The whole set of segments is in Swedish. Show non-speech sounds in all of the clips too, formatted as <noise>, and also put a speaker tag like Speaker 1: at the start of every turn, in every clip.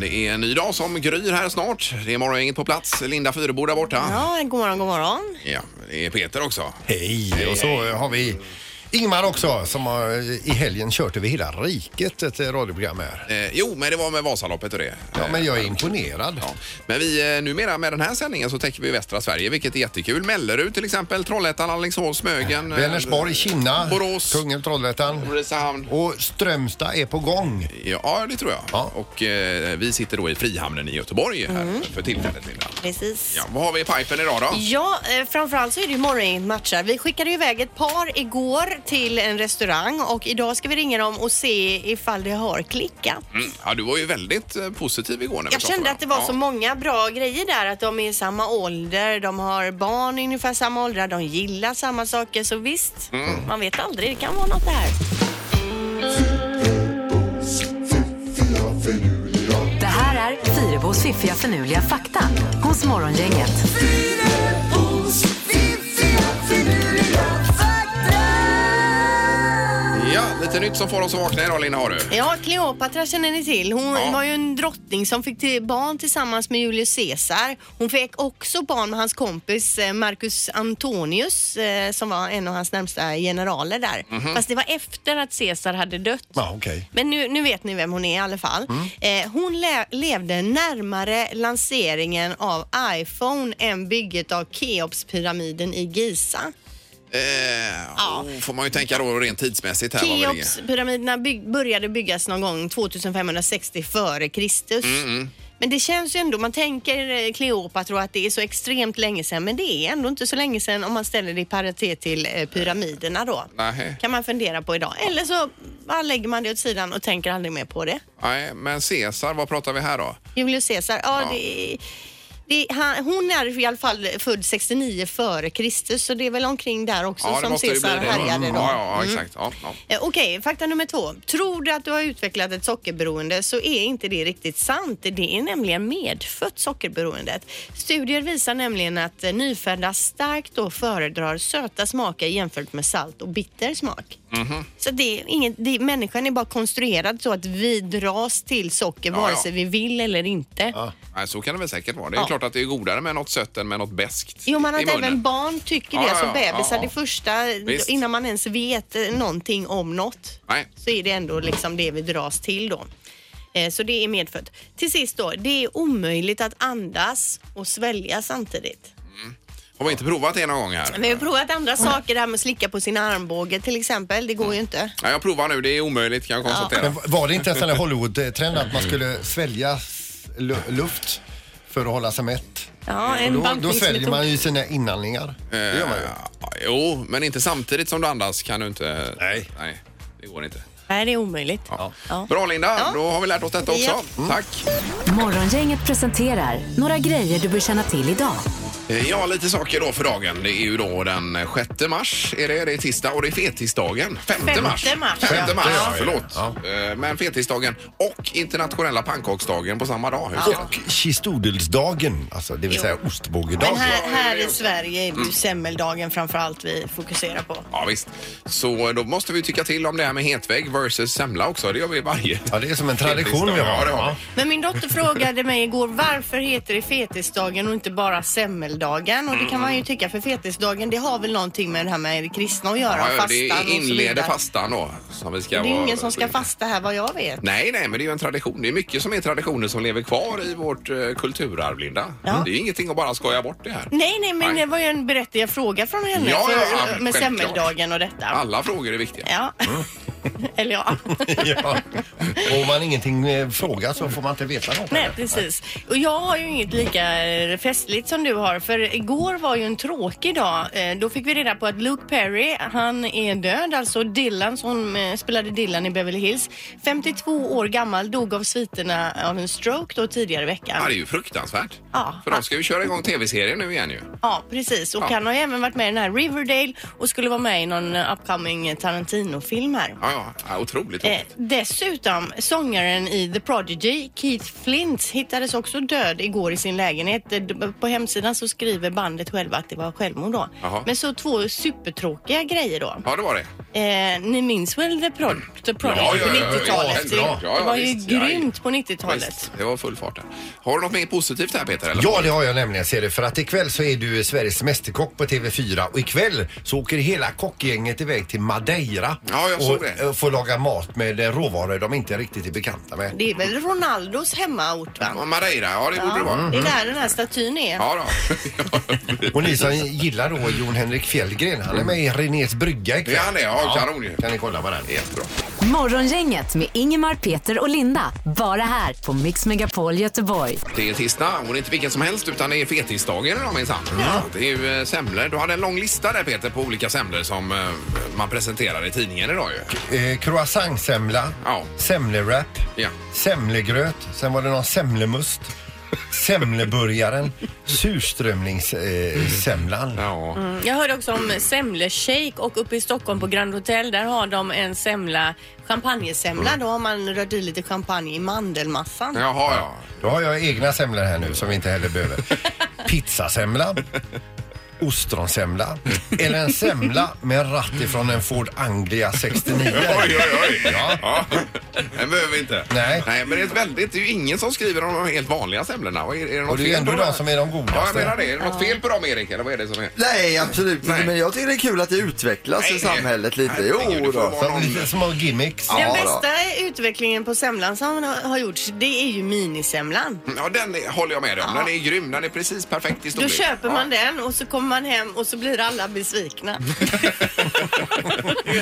Speaker 1: Det är en ny dag som gryr här snart. Det är morgongänget på plats. Linda Fyrebo där borta.
Speaker 2: Ja, god morgon, god morgon.
Speaker 1: Ja, det är Peter också.
Speaker 3: Hej! Och så har vi Ingmar också som har i helgen kört över hela riket ett eh, radioprogram här.
Speaker 1: Eh, jo, men det var med Vasaloppet och det.
Speaker 3: Ja,
Speaker 1: Eh,
Speaker 3: men jag är imponerad.
Speaker 1: ja. men vi eh, numera med den här sändningen så täcker vi västra Sverige, vilket är jättekul. Mellerud till exempel, Trollhättan, Alingsås, Smögen. eh,
Speaker 3: Vänersborg, Kinna,
Speaker 1: Borås.
Speaker 3: Kungälv, Trollhättan
Speaker 1: Ulricehamn.
Speaker 3: och Strömstad är på gång.
Speaker 1: Ja, det tror jag.
Speaker 3: Ja.
Speaker 1: Och eh, vi sitter då i Frihamnen i Göteborg här för tillfället, Linda.
Speaker 2: Precis.
Speaker 1: Ja, vad har vi i pipen idag då?
Speaker 2: Mm. Ja, eh, framförallt så är det ju morgongänget matchar. Vi skickade ju iväg ett par igår till en restaurang och idag ska vi ringa dem och se ifall det har klickat.
Speaker 1: Mm. Ja, du var ju väldigt eh, positiv igår. När vi
Speaker 2: Jag
Speaker 1: pratade
Speaker 2: kände
Speaker 1: med
Speaker 2: att det
Speaker 1: dem.
Speaker 2: var så
Speaker 1: Ja.
Speaker 2: många bra grejer där. Att de är i samma ålder, de har barn i ungefär samma åldrar, de gillar samma saker. Så visst,
Speaker 1: Mm.
Speaker 2: man vet aldrig. Det kan vara något där.
Speaker 4: Det här är Fyrabos fiffiga förnuliga fakta hos Morgongänget.
Speaker 1: Ja, lite nytt som får oss att vakna idag Linda har du.
Speaker 2: Ja, Kleopatra känner ni till. Hon
Speaker 1: Ja.
Speaker 2: var ju en drottning som fick till barn tillsammans med Julius Caesar. Hon fick också barn med hans kompis eh, Marcus Antonius eh, som var en av hans närmsta generaler där. Fast det var efter att Caesar hade dött.
Speaker 3: Ja, okej.
Speaker 2: Men nu, nu vet ni vem hon är i alla fall. Eh, hon le- levde närmare lanseringen av iPhone än bygget av Keopspyramiden i Giza.
Speaker 1: Eh,
Speaker 2: Ja.
Speaker 1: oh, får man ju tänka då rent tidsmässigt här. vad vi ligger.
Speaker 2: Keopspyramiderna byg- började byggas någon gång 2560 före Kristus.
Speaker 1: Mm,
Speaker 2: Men det känns ju ändå, man tänker eh, Kleopatra att det är så extremt länge sedan, men det är ändå inte så länge sedan om man ställer det i paritet till eh, pyramiderna då.
Speaker 1: Nej.
Speaker 2: Kan man fundera på idag. Eller så bara lägger man det åt sidan och tänker aldrig mer på det.
Speaker 1: Nej, men Caesar, vad pratar vi här då?
Speaker 2: Julius Caesar, ja,
Speaker 1: Ja.
Speaker 2: Det, det, han, hon är i alla fall född 69 före Kristus så det är väl omkring där också
Speaker 1: Ja, det
Speaker 2: som
Speaker 1: måste ju bli
Speaker 2: Caesar
Speaker 1: det då.
Speaker 2: härjade då.
Speaker 1: Ja, ja, exakt. Ja, ja.
Speaker 2: Eh, Okej, fakta nummer två. Tror du att du har utvecklat ett sockerberoende så är inte det riktigt sant. Det är nämligen medfött sockerberoendet. Studier visar nämligen att eh, nyfödda starkt då föredrar söta smaker jämfört med salt och bitter smak.
Speaker 1: Mhm.
Speaker 2: Så det är inget, det, människan är bara konstruerad så att vi dras till socker
Speaker 1: Ja,
Speaker 2: vare
Speaker 1: ja.
Speaker 2: sig vi vill eller inte.
Speaker 1: Nej, så kan det väl säkert vara. Det är
Speaker 2: Ja.
Speaker 1: klart att det är godare med något sött än med något beskt
Speaker 2: Jo, men
Speaker 1: i
Speaker 2: att
Speaker 1: munnen.
Speaker 2: även barn tycker
Speaker 1: Ja,
Speaker 2: det.
Speaker 1: ja,
Speaker 2: Alltså
Speaker 1: ja,
Speaker 2: bebisar,
Speaker 1: ja, ja.
Speaker 2: det första,
Speaker 1: Visst.
Speaker 2: innan man ens vet eh, någonting om något,
Speaker 1: Nej.
Speaker 2: så är det ändå liksom det vi dras till då. Eh, Så det är medfött. Till sist då, det är omöjligt att andas och svälja samtidigt.
Speaker 1: Har vi inte provat det någon gång här?
Speaker 2: Men vi har provat andra saker, det här med att slicka på sin armbåge till exempel. Det går ju inte.
Speaker 1: Ja, jag provar nu. Det är omöjligt kan jag konstatera.
Speaker 3: Men var det inte en sån där Hollywood-trend att man skulle svälja s- lu- luft för att hålla sig mätt?
Speaker 1: Mm.
Speaker 2: Ja, en
Speaker 3: Då, då
Speaker 2: bantningsmetod.
Speaker 3: sväljer man ju sina inandningar.
Speaker 1: Eh.
Speaker 3: Det gör man ju.
Speaker 1: Ja, jo, men inte samtidigt som du andas kan du inte.
Speaker 3: Nej.
Speaker 1: Nej, det går inte.
Speaker 2: Nej, det är omöjligt.
Speaker 1: Ja.
Speaker 2: Ja.
Speaker 1: Bra Linda,
Speaker 2: Ja.
Speaker 1: då har vi lärt oss detta också.
Speaker 2: Ja. Mm.
Speaker 1: Tack.
Speaker 4: Morgongänget presenterar några grejer du bör känna till idag.
Speaker 1: Eh, Ja, lite saker då för dagen. Det är ju då den 6 mars, är det, det är tisdag och det är fettisdagen. 5
Speaker 2: Femte
Speaker 1: mars.
Speaker 2: mars,
Speaker 1: Femte
Speaker 2: ja.
Speaker 1: mars,
Speaker 3: Ja.
Speaker 1: förlåt.
Speaker 3: Ja.
Speaker 1: Eh, Men fettisdagen och internationella pannkaksdagen på samma dag. Hur ska-
Speaker 3: Och kistodelsdagen, alltså det vill
Speaker 2: Jo.
Speaker 3: säga
Speaker 2: Men
Speaker 3: ostbågedagen.
Speaker 2: här, här i Sverige är det
Speaker 1: Mm.
Speaker 2: ju semmeldagen framför allt vi fokuserar på.
Speaker 1: Ja, visst. Så då måste vi tycka till om det här med hetvägg versus semla också. Det gör vi varje
Speaker 3: Ja, det är som en tradition vi
Speaker 1: Ja,
Speaker 3: har.
Speaker 1: det har vi.
Speaker 3: Ja.
Speaker 2: Men min dotter frågade mig igår varför heter det fetisdagen och inte bara semmeldagen? Och det kan
Speaker 1: Mm.
Speaker 2: man ju tycka för fetisdagen det har väl någonting med det här med det kristna att göra.
Speaker 1: Ja, det
Speaker 2: fastan och så
Speaker 1: inleder
Speaker 2: vidare.
Speaker 1: fastan då. Som vi ska
Speaker 2: Det är ju
Speaker 1: vara-
Speaker 2: ingen som ska fasta här vad jag vet.
Speaker 1: Nej, nej, men det är ju en tradition. Det är mycket som är traditioner som lever kvar i vårt eh, kulturarv, Linda.
Speaker 2: Ja.
Speaker 1: Det är ingenting att bara skoja bort det här.
Speaker 2: Nej, nej, men
Speaker 1: Nej.
Speaker 2: det var ju en berättigad fråga från henne
Speaker 1: Ja,
Speaker 2: för,
Speaker 1: ja, ja,
Speaker 2: med
Speaker 1: självklart. Mm.
Speaker 2: semmeldagen och detta.
Speaker 1: Alla frågor är viktiga.
Speaker 2: Ja. <laughs> Eller ja.
Speaker 1: <laughs>
Speaker 3: <laughs> Ja. Och om man ingenting eh, frågar så får man inte veta något.
Speaker 2: Nej, precis. Och jag har ju inget lika eh, festligt som du har för igår var ju en tråkig dag. Eh, Då fick vi reda på att Luke Perry, han är död, alltså Dylan som eh, spelade Dylan i Beverly Hills. 52 år gammal, dog av sviterna av en stroke då tidigare i
Speaker 1: Ja,
Speaker 2: veckan.
Speaker 1: det är ju fruktansvärt.
Speaker 2: Ja.
Speaker 1: För de ska ju köra igång tv-serien nu igen ju.
Speaker 2: Ja, precis. Och
Speaker 1: Ja.
Speaker 2: han har ju även varit med i den här Riverdale och skulle vara med i någon eh, upcoming Tarantino-film här.
Speaker 1: Ja, ja, ja otroligt.
Speaker 2: Eh, dessutom, sångaren i The Prodigy, Keith Flint, hittades också död igår i sin lägenhet. Eh, d- På hemsidan så skriver bandet själva att det var självmord då.
Speaker 1: Jaha.
Speaker 2: Men så två supertråkiga grejer då.
Speaker 1: Ja, det var det.
Speaker 2: Eh, ni minns väl The Prod- The Prodigy
Speaker 1: Ja, ja,
Speaker 2: på
Speaker 1: ja, ja,
Speaker 2: 90-talet?
Speaker 1: ja, ja, ja,
Speaker 2: det var ju
Speaker 1: visst.
Speaker 2: grymt på
Speaker 1: Ja,
Speaker 2: 90-talet.
Speaker 1: visst, det var full fart där. Har du något mer positivt här Peter? Eller?
Speaker 3: Ja, det har jag nämligen ser du. För att ikväll så är du Sveriges Mästerkock på TV4 och ikväll så åker hela kockgänget iväg till Madeira.
Speaker 1: Ja, jag såg
Speaker 3: och,
Speaker 1: det.
Speaker 3: eh, får laga mat med eh, råvaror de inte riktigt är bekanta med.
Speaker 2: Det är väl Ronaldos hemmaort va?
Speaker 1: Ja, Madeira, ja det borde det vara.
Speaker 2: Det är där den här statyn är.
Speaker 1: Ja, då. <laughs>
Speaker 3: Och ni som gillar då Jon Henrik Fjällgren, han är med i Renés brygga ikväll.
Speaker 1: Det är han det, ja, kanon ju.
Speaker 3: Kan ni kolla på den?
Speaker 1: Jättebra.
Speaker 4: Morgongänget med Ingemar, Peter och Linda. Bara här på Mix Megapol Göteborg.
Speaker 1: Det är tisdag och det är inte vilken som helst utan det är fetisdagen idag minsann. Ja. Det är ju eh, semlor. Du hade en lång lista där Peter på olika semlor som eh, man presenterar i tidningen idag ju.
Speaker 3: Eh, croissantsemla,
Speaker 1: Ja.
Speaker 3: semlewrap,
Speaker 1: Ja.
Speaker 3: semlegröt, sen var det någon semlemust, semleburgaren, surströmmingssemlan.
Speaker 1: Ja.
Speaker 2: Mm, Jag hörde också om semleshake och uppe i Stockholm på Grand Hotel där har de en semla, champagnesemla. Då har man rört i lite champagne i mandelmassan.
Speaker 1: Jaha, Mm. ja.
Speaker 3: Då har jag egna semlor här nu som vi inte heller behöver. Pizzasemla. Ostronsemla. Eller en semla med en ratt ifrån en Ford Anglia 69.
Speaker 1: <laughs> Oj, oj, oj. Ja. Det behöver vi inte.
Speaker 3: Nej.
Speaker 1: Nej, men det är, ett väldigt, det är ju ingen som skriver om de helt vanliga semlorna. Vad Är, är det något
Speaker 3: Och det är ju
Speaker 1: fel
Speaker 3: ändå
Speaker 1: på
Speaker 3: de som är de godaste.
Speaker 1: Ja, jag menar det. Är det något fel på dem, Erik? Eller vad är det som är?
Speaker 5: Nej, absolut inte.
Speaker 1: Nej.
Speaker 5: Men jag tycker det är kul att det utvecklas
Speaker 1: Nej,
Speaker 5: i
Speaker 1: nej.
Speaker 5: samhället lite.
Speaker 1: Herregud,
Speaker 5: Jo
Speaker 1: det får
Speaker 5: då.
Speaker 1: vara-
Speaker 3: Som lite små gimmicks.
Speaker 5: Ja.
Speaker 2: Den
Speaker 5: då.
Speaker 2: bästa utvecklingen på semlan som har har gjorts, det är ju minisemlan.
Speaker 1: Ja, den är, håller jag med om. Den är grym. Den är precis perfekt i
Speaker 2: Då
Speaker 1: storlek.
Speaker 2: köper
Speaker 1: Mm. Ja.
Speaker 2: man den och så kommer man hem och så blir alla besvikna.
Speaker 1: <laughs>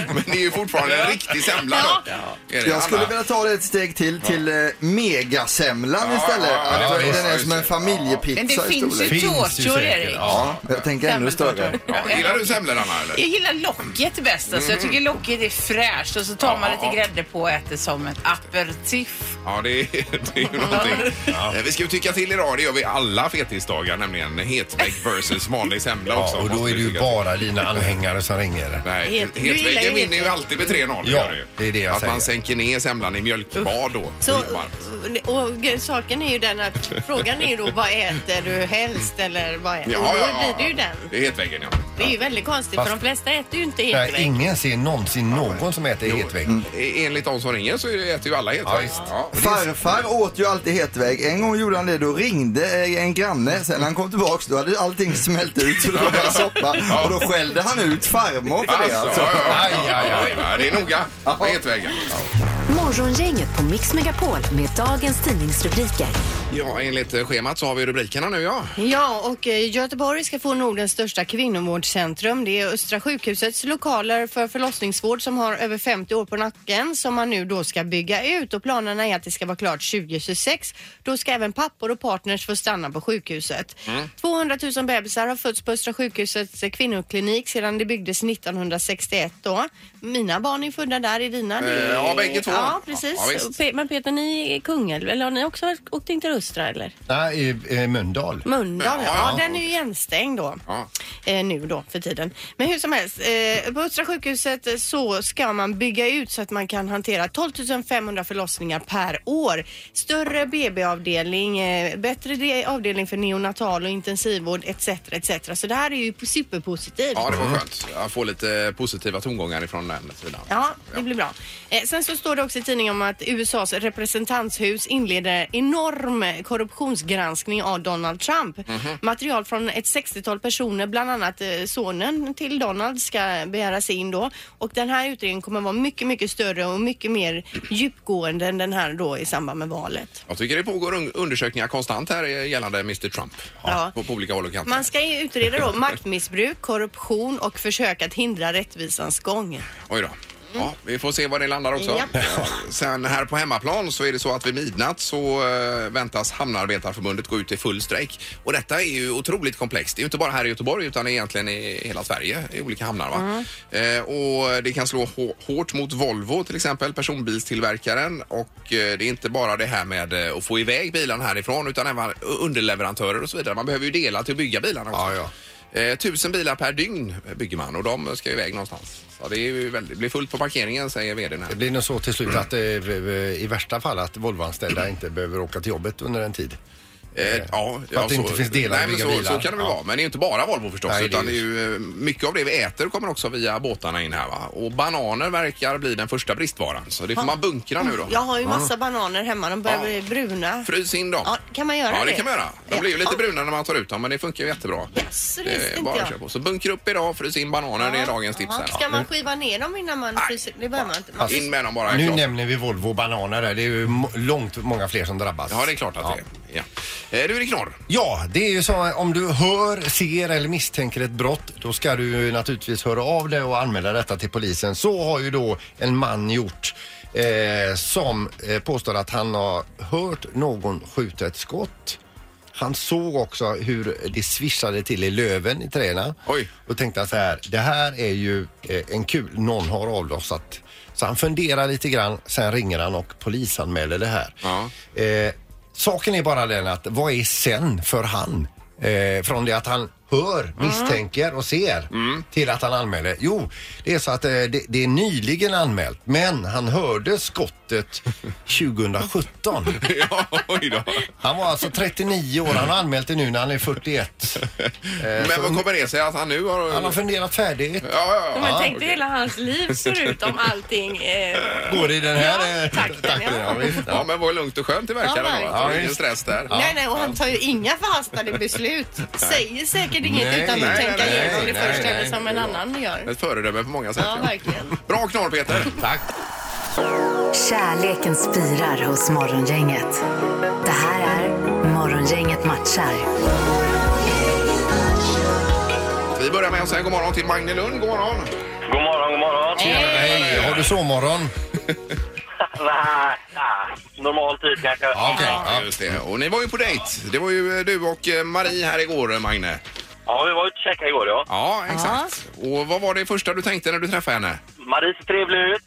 Speaker 1: Men det är ju fortfarande en riktig semla då. Är det
Speaker 5: Jag skulle
Speaker 1: alla?
Speaker 5: vilja ta det ett steg till, till eh, megasemlan
Speaker 1: Ja,
Speaker 5: istället.
Speaker 1: ja, ja,
Speaker 5: Alltså,
Speaker 3: ja,
Speaker 5: den är
Speaker 1: visst.
Speaker 5: som en familjepizza
Speaker 6: Men det
Speaker 5: i
Speaker 6: finns
Speaker 5: storlek.
Speaker 6: ju
Speaker 3: Finns ju
Speaker 6: tårtor,
Speaker 3: säkert.
Speaker 6: Erik.
Speaker 5: Ja, jag tänker ännu större.
Speaker 1: Ja, gillar du semlor, Anna? Eller?
Speaker 6: Jag gillar locket bäst. Alltså. Jag tycker locket är fräscht och så tar man lite grädde på och äter som ett aperitif.
Speaker 1: Ja, det är, det är ju någonting. Eh, Vi ska ju tycka till idag. Det gör vi alla fetisdagar, nämligen hetvägg versus vanlig semla
Speaker 3: Ja,
Speaker 1: också.
Speaker 3: och
Speaker 1: måste
Speaker 3: då är
Speaker 1: vi
Speaker 3: det ju
Speaker 1: tycka
Speaker 3: bara dina anhängare som ringer.
Speaker 1: Nej,
Speaker 2: Het-
Speaker 1: het,
Speaker 2: du gillar
Speaker 1: hetväggen
Speaker 2: ju
Speaker 1: vinner ju
Speaker 2: hetvägg.
Speaker 1: alltid med 3-0.
Speaker 3: Ja,
Speaker 1: gör ju.
Speaker 3: det är det jag
Speaker 1: Att man
Speaker 3: säger.
Speaker 1: sänker ner semlan i mjölkbad då.
Speaker 2: Så,
Speaker 1: Ingmar.
Speaker 2: och eh, saken är ju den att frågan är ju då vad äter du helst eller vad äter
Speaker 1: Ja,
Speaker 2: du?
Speaker 1: ja,
Speaker 2: Då
Speaker 1: ja.
Speaker 2: blir det ju den.
Speaker 1: Det är hetväggen, ja.
Speaker 2: Det är ju väldigt konstigt
Speaker 3: Fast-
Speaker 2: för de flesta äter ju inte
Speaker 3: Nej,
Speaker 2: hetvägg.
Speaker 3: ingen ser någonsin någon som äter hetvägg.
Speaker 1: E- Enligt de som ringer så äter ju alla
Speaker 3: Ja,
Speaker 1: hetvägg.
Speaker 3: visst.
Speaker 1: Ja,
Speaker 5: Farfar åt ju alltid hetvägg. En gång gjorde han det, då ringde eh, en granne. Sen när han kom tillbaks då hade allting smält ut så det var bara soppa. Och då skällde han ut farmor för det alltså.
Speaker 1: Alltså, ja, ja,
Speaker 3: Aj, aj, aj.
Speaker 1: Ja, Det är noga med hetväggen.
Speaker 4: Morgongänget på Mix Megapol med dagens tidningsrubriker.
Speaker 1: Ja, enligt eh, schemat så har vi rubrikerna nu, ja.
Speaker 2: Ja, och eh, Göteborg ska få Nordens största kvinnovårdscentrum. Det är Östra sjukhusets lokaler för förlossningsvård som har över 50 år på nacken som man nu då ska bygga ut och planerna är att det ska vara klart 2026. Då ska även pappor och partners få stanna på sjukhuset.
Speaker 1: Mm.
Speaker 2: 200 000 bebisar har fötts på Östra sjukhusets eh, kvinnoklinik sedan det byggdes 1961 då. Mina barn är födda där, är dina? Det är-
Speaker 1: Eh, ja, bägge två.
Speaker 2: Ja, precis.
Speaker 1: Ja, visst.
Speaker 2: Pe- Men Peter, ni är Kungälv, eller har ni också varit- åkt in till Östra eller?
Speaker 3: Nej, i, i Mölndal.
Speaker 2: Mölndal, ja,
Speaker 1: Ja.
Speaker 2: den är ju igenstängd då.
Speaker 1: Ja.
Speaker 2: Eh, nu då för tiden. Men hur som helst, eh, på Östra sjukhuset så ska man bygga ut så att man kan hantera 12 500 förlossningar per år. Större BB-avdelning, eh, bättre de- avdelning för neonatal och intensivvård etc. etc. Så det här är ju superpositivt.
Speaker 1: Ja, det var
Speaker 3: Mm.
Speaker 1: skönt att få lite eh, positiva tongångar ifrån den sidan.
Speaker 2: Ja, det blir bra. Eh, sen så står det också i tidningen om att USAs representanshus inleder enorm korruptionsgranskning av Donald Trump. Material från ett 60-tal personer, bland annat eh, sonen till Donald, ska begäras in då. Och den här utredningen kommer vara mycket, mycket större och mycket mer djupgående än den här då i samband med valet.
Speaker 1: Jag tycker det pågår un- undersökningar konstant här eh, gällande Mr Trump.
Speaker 2: Ja.
Speaker 1: På, på olika håll och kanter.
Speaker 2: Man ska ju utreda då maktmissbruk, korruption och försök att hindra rättvisans gång.
Speaker 1: Oj då. Ja, vi får se var det landar också.
Speaker 2: Ja.
Speaker 1: Sen här på hemmaplan så är det så att vid midnatt så eh, väntas Hamnarbetarförbundet gå ut i full strejk. Och detta är ju otroligt komplext. Det är ju inte bara här i Göteborg utan egentligen i hela Sverige i olika hamnar. Va? Eh, och det kan slå hå- hårt mot Volvo till exempel, personbilstillverkaren. Och eh, det är inte bara det här med eh, att få iväg bilen härifrån utan även underleverantörer och så vidare. Man behöver ju dela till att bygga bilarna också.
Speaker 3: Ja, ja.
Speaker 1: Eh, tusen bilar per dygn bygger man och de ska iväg någonstans. Så det, är ju väldigt, det blir fullt på parkeringen säger vdn
Speaker 3: Det
Speaker 1: här.
Speaker 3: blir nog
Speaker 1: Mm.
Speaker 3: så till slut att eh, i värsta fall att Volvoanställda inte behöver åka till jobbet under en tid.
Speaker 1: Eh, ja, ja,
Speaker 3: att det inte finns delar
Speaker 1: nej,
Speaker 3: att
Speaker 1: men
Speaker 3: bygga
Speaker 1: så,
Speaker 3: bilar.
Speaker 1: så kan det väl
Speaker 3: Ja.
Speaker 1: vara. Men det är ju inte bara Volvo förstås.
Speaker 3: Nej, det är
Speaker 1: utan det är
Speaker 3: ju-
Speaker 1: ju, eh, mycket av det vi äter kommer också via båtarna in här. Va? Och bananer verkar bli den första bristvaran. Så det får man bunkra nu då.
Speaker 2: Jag har ju massa bananer hemma, de börjar
Speaker 1: Ja.
Speaker 2: bli bruna.
Speaker 1: Frys in dem.
Speaker 2: Ja, kan man göra
Speaker 1: Ja, det
Speaker 2: det?
Speaker 1: kan man göra. De
Speaker 2: Ja.
Speaker 1: blir ju lite
Speaker 2: Ja.
Speaker 1: bruna när man tar ut dem, men det funkar ju jättebra.
Speaker 2: Jaså, det
Speaker 1: Eh,
Speaker 2: visste inte
Speaker 1: bara
Speaker 2: jag.
Speaker 1: kör på. Så bunkra upp idag, frys in bananer. Det är dagens tips här. Mm.
Speaker 2: Ska man skiva ner dem innan man fryser? Det behöver man inte. Man-
Speaker 1: In med dem bara.
Speaker 3: Nu
Speaker 1: klart.
Speaker 3: nämner vi Volvo och bananer där. Det är ju mo- långt många fler som drabbas.
Speaker 1: Ja, det är klart att det är. Ja. Eh, Du är det knorr.
Speaker 3: Ja, det är ju så om du hör, ser eller misstänker ett brott då ska du ju naturligtvis höra av dig och anmäla detta till polisen. Så har ju då en man gjort eh, som eh, påstår att han har hört någon skjuta ett skott. Han såg också hur det svishade till i löven i träna
Speaker 1: Oj.
Speaker 3: och tänkte så här, det här är ju eh, en kul, någon har avlossat. Så han funderar lite grann, sen ringer han och polisanmäler det här.
Speaker 1: Ja.
Speaker 3: Eh, saken är bara den att vad är sen för han? Eh, från det att han hör,
Speaker 1: Mm.
Speaker 3: misstänker och ser till att han anmäler. Jo, det är så att eh, det, det är nyligen anmält men han
Speaker 1: <laughs>
Speaker 3: hörde skottet 2017.
Speaker 1: Ja, oj då.
Speaker 3: Han var alltså 39 år, han har anmält det nu när han
Speaker 1: <laughs>
Speaker 3: är 41. Eh,
Speaker 1: Men
Speaker 3: så
Speaker 1: vad kommer det sig att han nu har...
Speaker 3: han har funderat färdigt.
Speaker 1: Ja, ja, ja.
Speaker 2: Men tänk dig hela hans liv ser ut om allting... Eh,
Speaker 3: Går det i den här
Speaker 2: Ja,
Speaker 3: eh,
Speaker 2: takten, ja.
Speaker 3: ja, visst,
Speaker 1: Ja, men vad lugnt och skönt det verkar
Speaker 2: Ja,
Speaker 1: ändå.
Speaker 2: verkligen.
Speaker 1: att Det är ingen stress där.
Speaker 2: Nej, nej, och han tar ju inga förhastade beslut. Säger säkert inget
Speaker 3: Nej,
Speaker 2: utan att
Speaker 1: nej,
Speaker 2: tänka
Speaker 1: nej,
Speaker 2: igenom det
Speaker 3: nej,
Speaker 2: först
Speaker 3: nej,
Speaker 2: eller som en annan gör.
Speaker 1: Ett föredöme på många sätt.
Speaker 2: Ja,
Speaker 1: ja.
Speaker 2: verkligen.
Speaker 1: Bra knorr, Peter.
Speaker 3: Tack.
Speaker 4: Kärleken spirar hos Morgongänget. Det här är Morgongänget matchar.
Speaker 1: Vi börjar med att säga god morgon till Magne Lund. God morgon.
Speaker 7: God morgon, god morgon.
Speaker 3: Hej, har du sovmorgon?
Speaker 7: Nej, nej. Normal tid kanske.
Speaker 3: Ja, okej.
Speaker 1: Ja, just det. Och ni var ju på dejt. Det var ju eh, du och eh, Marie här igår, eh, Magne.
Speaker 7: Ja, vi var ute och käkade igår ja.
Speaker 1: Ja, exakt. Och vad var det första du tänkte när du träffade henne?
Speaker 7: Marie ser trevlig ut.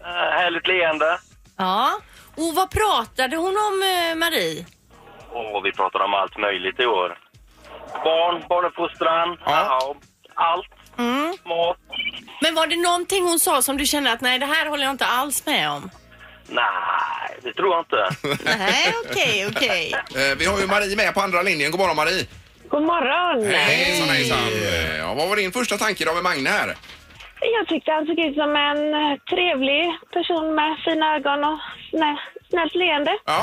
Speaker 7: Eh, härligt leende.
Speaker 2: Ja. Och vad pratade hon om, eh, Marie?
Speaker 7: Och vi pratar om allt möjligt i år. Barn, barnuppfostran, ja. allt. Mat.
Speaker 2: Men var det någonting hon sa som du kände att nej, det här håller jag inte alls med om?
Speaker 7: Nej, det tror jag inte.
Speaker 2: Nej, okej, okej.
Speaker 1: <laughs> Eh, Vi har ju Marie med på andra linjen. God morgon, Marie.
Speaker 8: God morgon!
Speaker 1: Hejsan, hejsan. Eh, Ja, vad var din första tanke då med Magne här?
Speaker 8: Jag tyckte han såg ut som en eh, trevlig person med fina ögon och snä, snällt leende.
Speaker 1: Ja.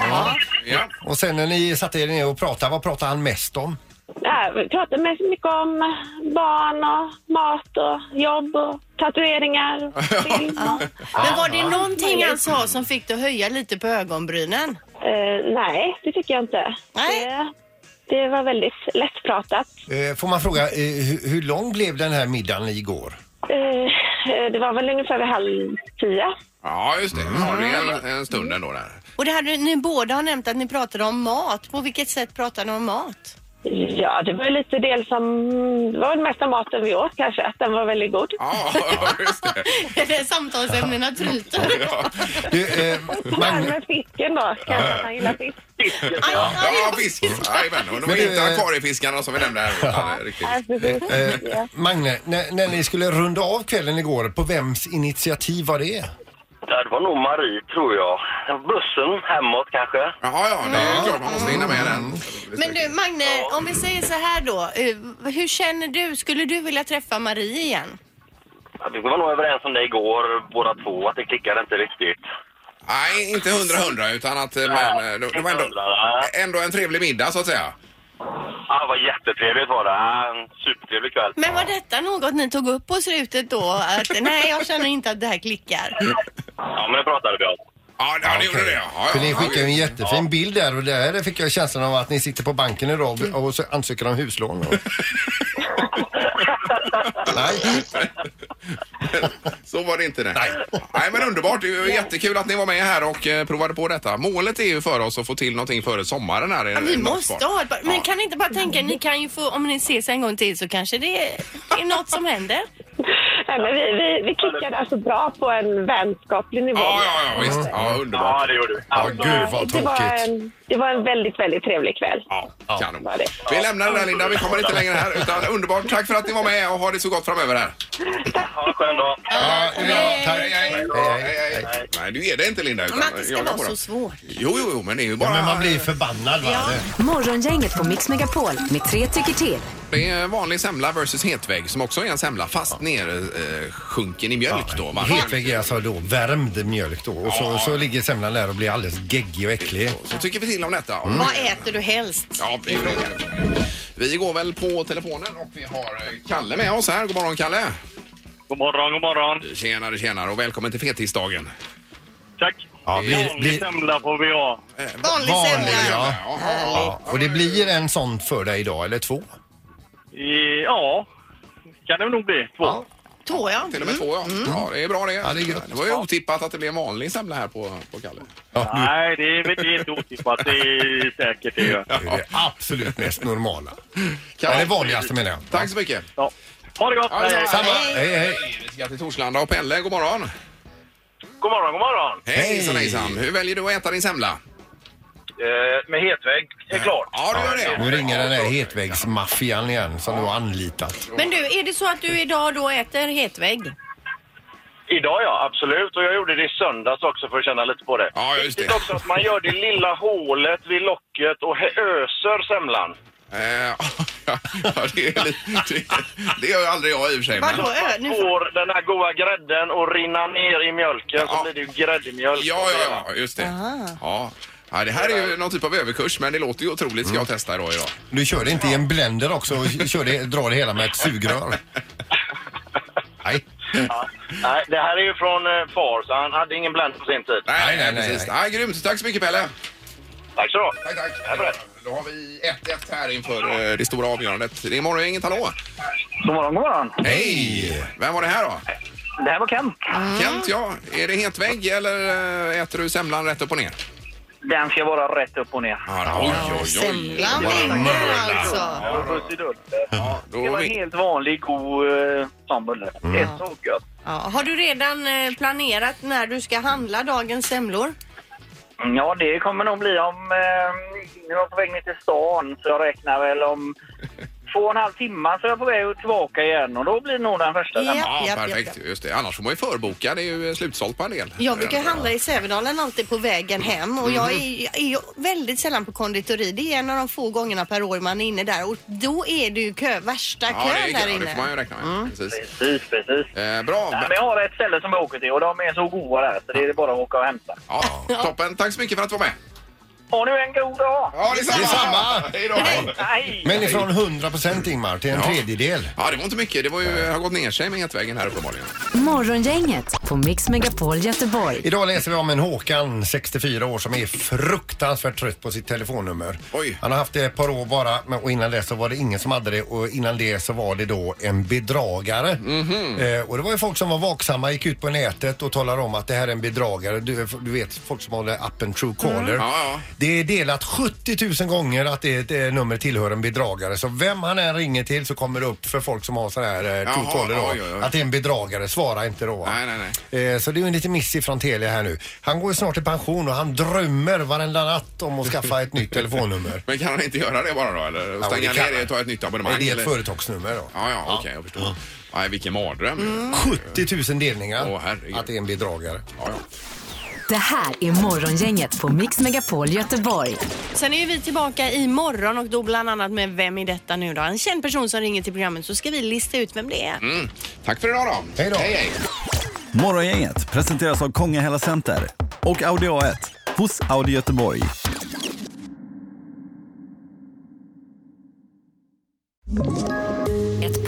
Speaker 1: ja.
Speaker 3: Och sen när ni satte er ner och pratade, vad pratade han mest om?
Speaker 8: Ja, vi pratade mest mycket om eh, barn och mat och jobb och tatueringar. och film.
Speaker 2: Men var det någonting han sa som fick dig att höja lite på ögonbrynen?
Speaker 8: Eh, nej, det tycker jag inte.
Speaker 2: Nej.
Speaker 8: Det, det var väldigt lättpratat.
Speaker 3: Eh, får man fråga, eh, hur, hur lång blev den här middagen igår?
Speaker 8: Eh, eh, det var väl ungefär vid halv tio.
Speaker 1: Ja, just det. Ja, det är en, en stund ändå där.
Speaker 2: Och det hade ni båda har nämnt att ni pratade om mat. På vilket sätt pratade ni om <laughs> mat?
Speaker 8: Ja, det var ju lite del som... Det var väl mest av maten vi åt kanske, att den var väldigt god.
Speaker 1: Ja, <laughs> just det.
Speaker 2: Eller samtalsämnena tryter.
Speaker 1: Ja,
Speaker 3: Du, eh,
Speaker 8: <laughs> Det här
Speaker 3: Magne,
Speaker 8: med fisken då, kanske att han gillar fisk.
Speaker 2: Aj, aj,
Speaker 1: ja fisk. Jajamän. Och det var
Speaker 3: Men du,
Speaker 1: inte
Speaker 3: eh,
Speaker 1: akvariefiskarna som vi nämnde här. utan, eh, Riktigt.
Speaker 8: Ja, precis.
Speaker 3: eh, Magne när, när ni skulle runda av kvällen igår, på vems initiativ var det?
Speaker 7: Ja, Det var nog Marie, tror jag. Bussen hemåt kanske.
Speaker 1: Ja, ja, det är klart man måste hinna med den.
Speaker 2: Men du Magne, om vi säger så här då. eh, Hur känner du? Skulle du vilja träffa Marie igen?
Speaker 7: Ja, Vi var nog överens om det igår, båda två, att det klickade inte riktigt.
Speaker 1: Nej, inte hundra hundra utan att eh, men, eh, det, det var ändå, ändå en trevlig middag så att säga.
Speaker 7: Ja, det var jättetrevligt var det. Ja, En supertrevlig kväll.
Speaker 2: Men var detta något ni tog upp på slutet då? Att nej, jag känner inte att det här klickar.
Speaker 7: Ja, men det pratade vi om.
Speaker 1: Ja, ja det gjorde det. Ja, ja,
Speaker 3: För ni skickade ju en
Speaker 1: ja.
Speaker 3: jättefin bild där och där fick jag känslan av att ni sitter på banken idag och så ansöker om
Speaker 8: <laughs>
Speaker 3: huslån. Nej,
Speaker 1: <laughs> Så var det inte det. Nej. men underbart. Det är ju jättekul att ni var med här och eh, provade på detta. Målet är ju för oss att få till någonting före sommaren här. i-
Speaker 2: Ja, vi
Speaker 1: något
Speaker 2: måste
Speaker 1: svar.
Speaker 2: ha ett par- Men kan ni inte bara tänka, ni kan ju få, om ni ses en gång till så kanske det är något som händer.
Speaker 8: Nej, men vi, vi, vi klickade alltså bra på en vänskaplig nivå.
Speaker 1: Ja, ja, ja, visst. Ja, underbart.
Speaker 7: Ja, det gjorde vi.
Speaker 3: Ja, gud vad
Speaker 8: Det var
Speaker 3: tråkigt.
Speaker 8: en, Det var en väldigt, väldigt trevlig kväll.
Speaker 1: Ja, kanon.
Speaker 8: Ja, det.
Speaker 1: Vi lämnar det där Linda, vi kommer inte längre här. Utan underbart, tack för att ni var med och ha det så gott framöver här.
Speaker 7: Ha en skön dag.
Speaker 3: Ja, det är bra. Tack.
Speaker 1: Hej, hej, hej, hej. Nej, du är det inte Linda. utan
Speaker 2: Men att det ska
Speaker 1: jagar
Speaker 2: vara
Speaker 1: på
Speaker 2: så
Speaker 1: dem.
Speaker 2: svårt.
Speaker 1: Jo, jo, jo, men det är ju
Speaker 3: Ja,
Speaker 1: bara...
Speaker 3: men man blir förbannad. Va?
Speaker 4: Morgongänget på Mix Megapol med tre tycker till.
Speaker 1: Det är vanlig semla versus hetvägg som också är en semla fast ner eh, sjunken i mjölk då. va?
Speaker 3: Hetvägg är alltså då värmd mjölk då och så, så ligger semlan där och blir alldeles geggig och äcklig.
Speaker 1: Så tycker vi till om detta.
Speaker 2: Vad äter du helst?
Speaker 1: Ja, det är det. vi går väl på telefonen och vi har eh, Kalle med oss här. God morgon Kalle!
Speaker 7: God morgon, god morgon.
Speaker 1: Tjenare, tjenare och välkommen till fetisdagen.
Speaker 7: Tack.
Speaker 3: Ja, blir-
Speaker 7: Vanlig
Speaker 3: blir-
Speaker 7: semla får vi ha.
Speaker 2: Vanlig
Speaker 3: Vanlig,
Speaker 2: semla.
Speaker 3: ja.
Speaker 1: Jaha.
Speaker 3: Ja, och det blir en sån för dig idag, eller två?
Speaker 7: Eh, Ja, kan det nog bli. Två.
Speaker 2: Tår jag.
Speaker 1: Till och med två, ja. ja. Det är bra det.
Speaker 3: Ja, det är gött.
Speaker 1: var ju otippat att det blev en vanlig semla här på, på Kalle.
Speaker 3: Ja, nu
Speaker 7: Nej, det är, det är inte otippat. Det är säkert det. gör.
Speaker 3: är det absolut mest normala. Ja, det vanligaste menar jag.
Speaker 1: Tack så mycket.
Speaker 7: Ja. Ha det gott!
Speaker 1: Ja, det är bra.
Speaker 3: Samma. Hej, hej.
Speaker 1: Vi ska till Torslanda och Pelle, god morgon.
Speaker 7: God morgon, god morgon!
Speaker 1: Hej. Hejsan, hejsan. Hur väljer du att äta din semla?
Speaker 7: Eh, med hetvägg, är klart.
Speaker 1: Ja, du gör det.
Speaker 3: Nu ringer den där hetvägsmaffian igen som du har anlitat.
Speaker 2: Men du, är det så att du idag då äter hetvägg?
Speaker 7: Idag ja, absolut. Och jag gjorde det i söndags också för att känna lite på det.
Speaker 1: Ja, just det.
Speaker 7: är också att man gör det lilla hålet vid locket och hä- öser semlan.
Speaker 1: Eh, <laughs> ja, det, är lite, det, det gör ju aldrig jag i och för sig. men-
Speaker 2: Vadå? Ö, nu får...
Speaker 7: Får den här goda grädden och rinna ner i mjölken
Speaker 1: Ja.
Speaker 7: så blir det ju gräddmjölk.
Speaker 1: Ja, ja, ja, just det. Ja. Ja, det här är ju någon typ av överkurs, men det låter ju otroligt. Ska jag testa idag? idag.
Speaker 3: Du kör det inte i en blender också och kör det, drar det hela med ett sugrör. Nej.
Speaker 7: <laughs> Ja. Nej, det här är ju från eh, far, så han hade ingen blend på sin tid.
Speaker 1: Nej, nej,
Speaker 3: nej,
Speaker 1: nej.
Speaker 3: nej,
Speaker 1: Precis.
Speaker 3: nej.
Speaker 1: Nej, grymt. Tack så mycket, Pelle.
Speaker 7: Tack så du
Speaker 1: Tack,
Speaker 7: Ja, bra.
Speaker 1: tack. Då har vi 1-1 här inför eh, det stora avgörandet. Det är morgon, inget hallå.
Speaker 7: God morgon, god morgon.
Speaker 1: Hej! Vem var det här då?
Speaker 7: Det här var Kent.
Speaker 1: Kent, ja. Är det hetvägg eller eh, äter du semlan rätt upp och ner?
Speaker 7: Den ska vara rätt upp och ner.
Speaker 1: Ja, oj, oj, oj.
Speaker 2: Semlan
Speaker 1: Vad-
Speaker 2: väger alltså.
Speaker 7: Puss i dörren.
Speaker 1: Ja, då
Speaker 7: Det var
Speaker 1: vi-
Speaker 7: en helt vanlig god eh, sambulle.
Speaker 1: Mm.
Speaker 7: Det är så gött.
Speaker 2: Ja, har du redan eh, planerat när du ska handla dagens semlor?
Speaker 7: Ja, det kommer nog bli om... Eh, jag är på väg ner till stan, så jag räknar väl om två och en halv timme så är jag på väg tillbaka igen och då blir det nog den första.
Speaker 2: Ja.
Speaker 1: Ja,
Speaker 2: Japp, japp,
Speaker 1: perfekt. Just det. Annars får man ju förboka. Det är ju eh, slutsålt på en del.
Speaker 2: Jag brukar handla i Sävedalen alltid på vägen hem och jag
Speaker 1: Mhm.
Speaker 2: är, jag är ju väldigt sällan på konditori. Det är en av de få gångerna per år man är inne där och då är det ju kö, värsta
Speaker 1: Ja, det,
Speaker 2: kön
Speaker 1: är,
Speaker 2: där
Speaker 1: ja, det får man ju
Speaker 2: inne. Mm.
Speaker 1: räkna med. Precis.
Speaker 7: Precis, precis.
Speaker 1: Eh, bra.
Speaker 7: Nej, men jag har ett ställe som jag åker till och de är så goda där så det är bara att åka och hämta.
Speaker 1: Ja, toppen. Tack så mycket för att du var med.
Speaker 7: Har nu en god dag!
Speaker 1: Ja, detsamma!
Speaker 3: Detsamma.
Speaker 1: Hej då!
Speaker 7: Nej!
Speaker 3: Men ifrån 100% Ingmar till en tredjedel.
Speaker 1: Ja, det var inte mycket. Det var ju, har gått ner sig med hetväggen här uppenbarligen.
Speaker 4: Morgongänget på Mix Megapol Göteborg.
Speaker 3: Idag läser vi om en Håkan, 64 år, som är fruktansvärt trött på sitt telefonnummer.
Speaker 1: Oj.
Speaker 3: Han har haft det ett par år bara men- och innan det så var det ingen som hade det och innan det så var det då en bedragare.
Speaker 1: Mhm.
Speaker 3: eh, och det var ju folk som var vaksamma, gick ut på nätet och talade om att det här är en bedragare. Du, du vet, folk som håller appen Truecaller.
Speaker 1: Mm. Ja, ja.
Speaker 3: Det är delat 70 000 gånger att det, det nummer tillhör en bedragare. Så vem han än ringer till så kommer det upp för folk som har sån här eh, Truecaller då.
Speaker 1: oj, oj, oj.
Speaker 3: Att det är en bedragare. Svara inte då. va?
Speaker 1: Nej, nej, nej.
Speaker 3: Eh, Så det är ju en liten miss från Telia här nu. Han går ju snart i pension och han drömmer varenda natt om att skaffa ett nytt
Speaker 1: <laughs>
Speaker 3: telefonnummer.
Speaker 1: Men kan han inte göra det bara då? Eller
Speaker 3: Ja,
Speaker 1: stänga
Speaker 3: det kan
Speaker 1: ner det
Speaker 3: han.
Speaker 1: och ta ett nytt abonnemang?
Speaker 3: Nej, det är
Speaker 1: eller?
Speaker 3: ett företagsnummer då.
Speaker 1: Ja, ja, okej, jag förstår. Nej, vilken mardröm.
Speaker 3: 70 000 delningar.
Speaker 1: Åh, herregud.
Speaker 3: att det är en bedragare.
Speaker 1: Ja, ja.
Speaker 4: Det här är Morgongänget på Mix Megapol Göteborg.
Speaker 2: Sen är ju vi tillbaka imorgon och då bland annat med Vem är detta nu då? En känd person som ringer till programmet så ska vi lista ut vem det är.
Speaker 1: Mm. Tack för idag då.
Speaker 3: Hej då.
Speaker 1: Hej, hej.
Speaker 9: Morgongänget presenteras av Kongahälla Center och Audi A1 hos Audi Göteborg.
Speaker 4: Ett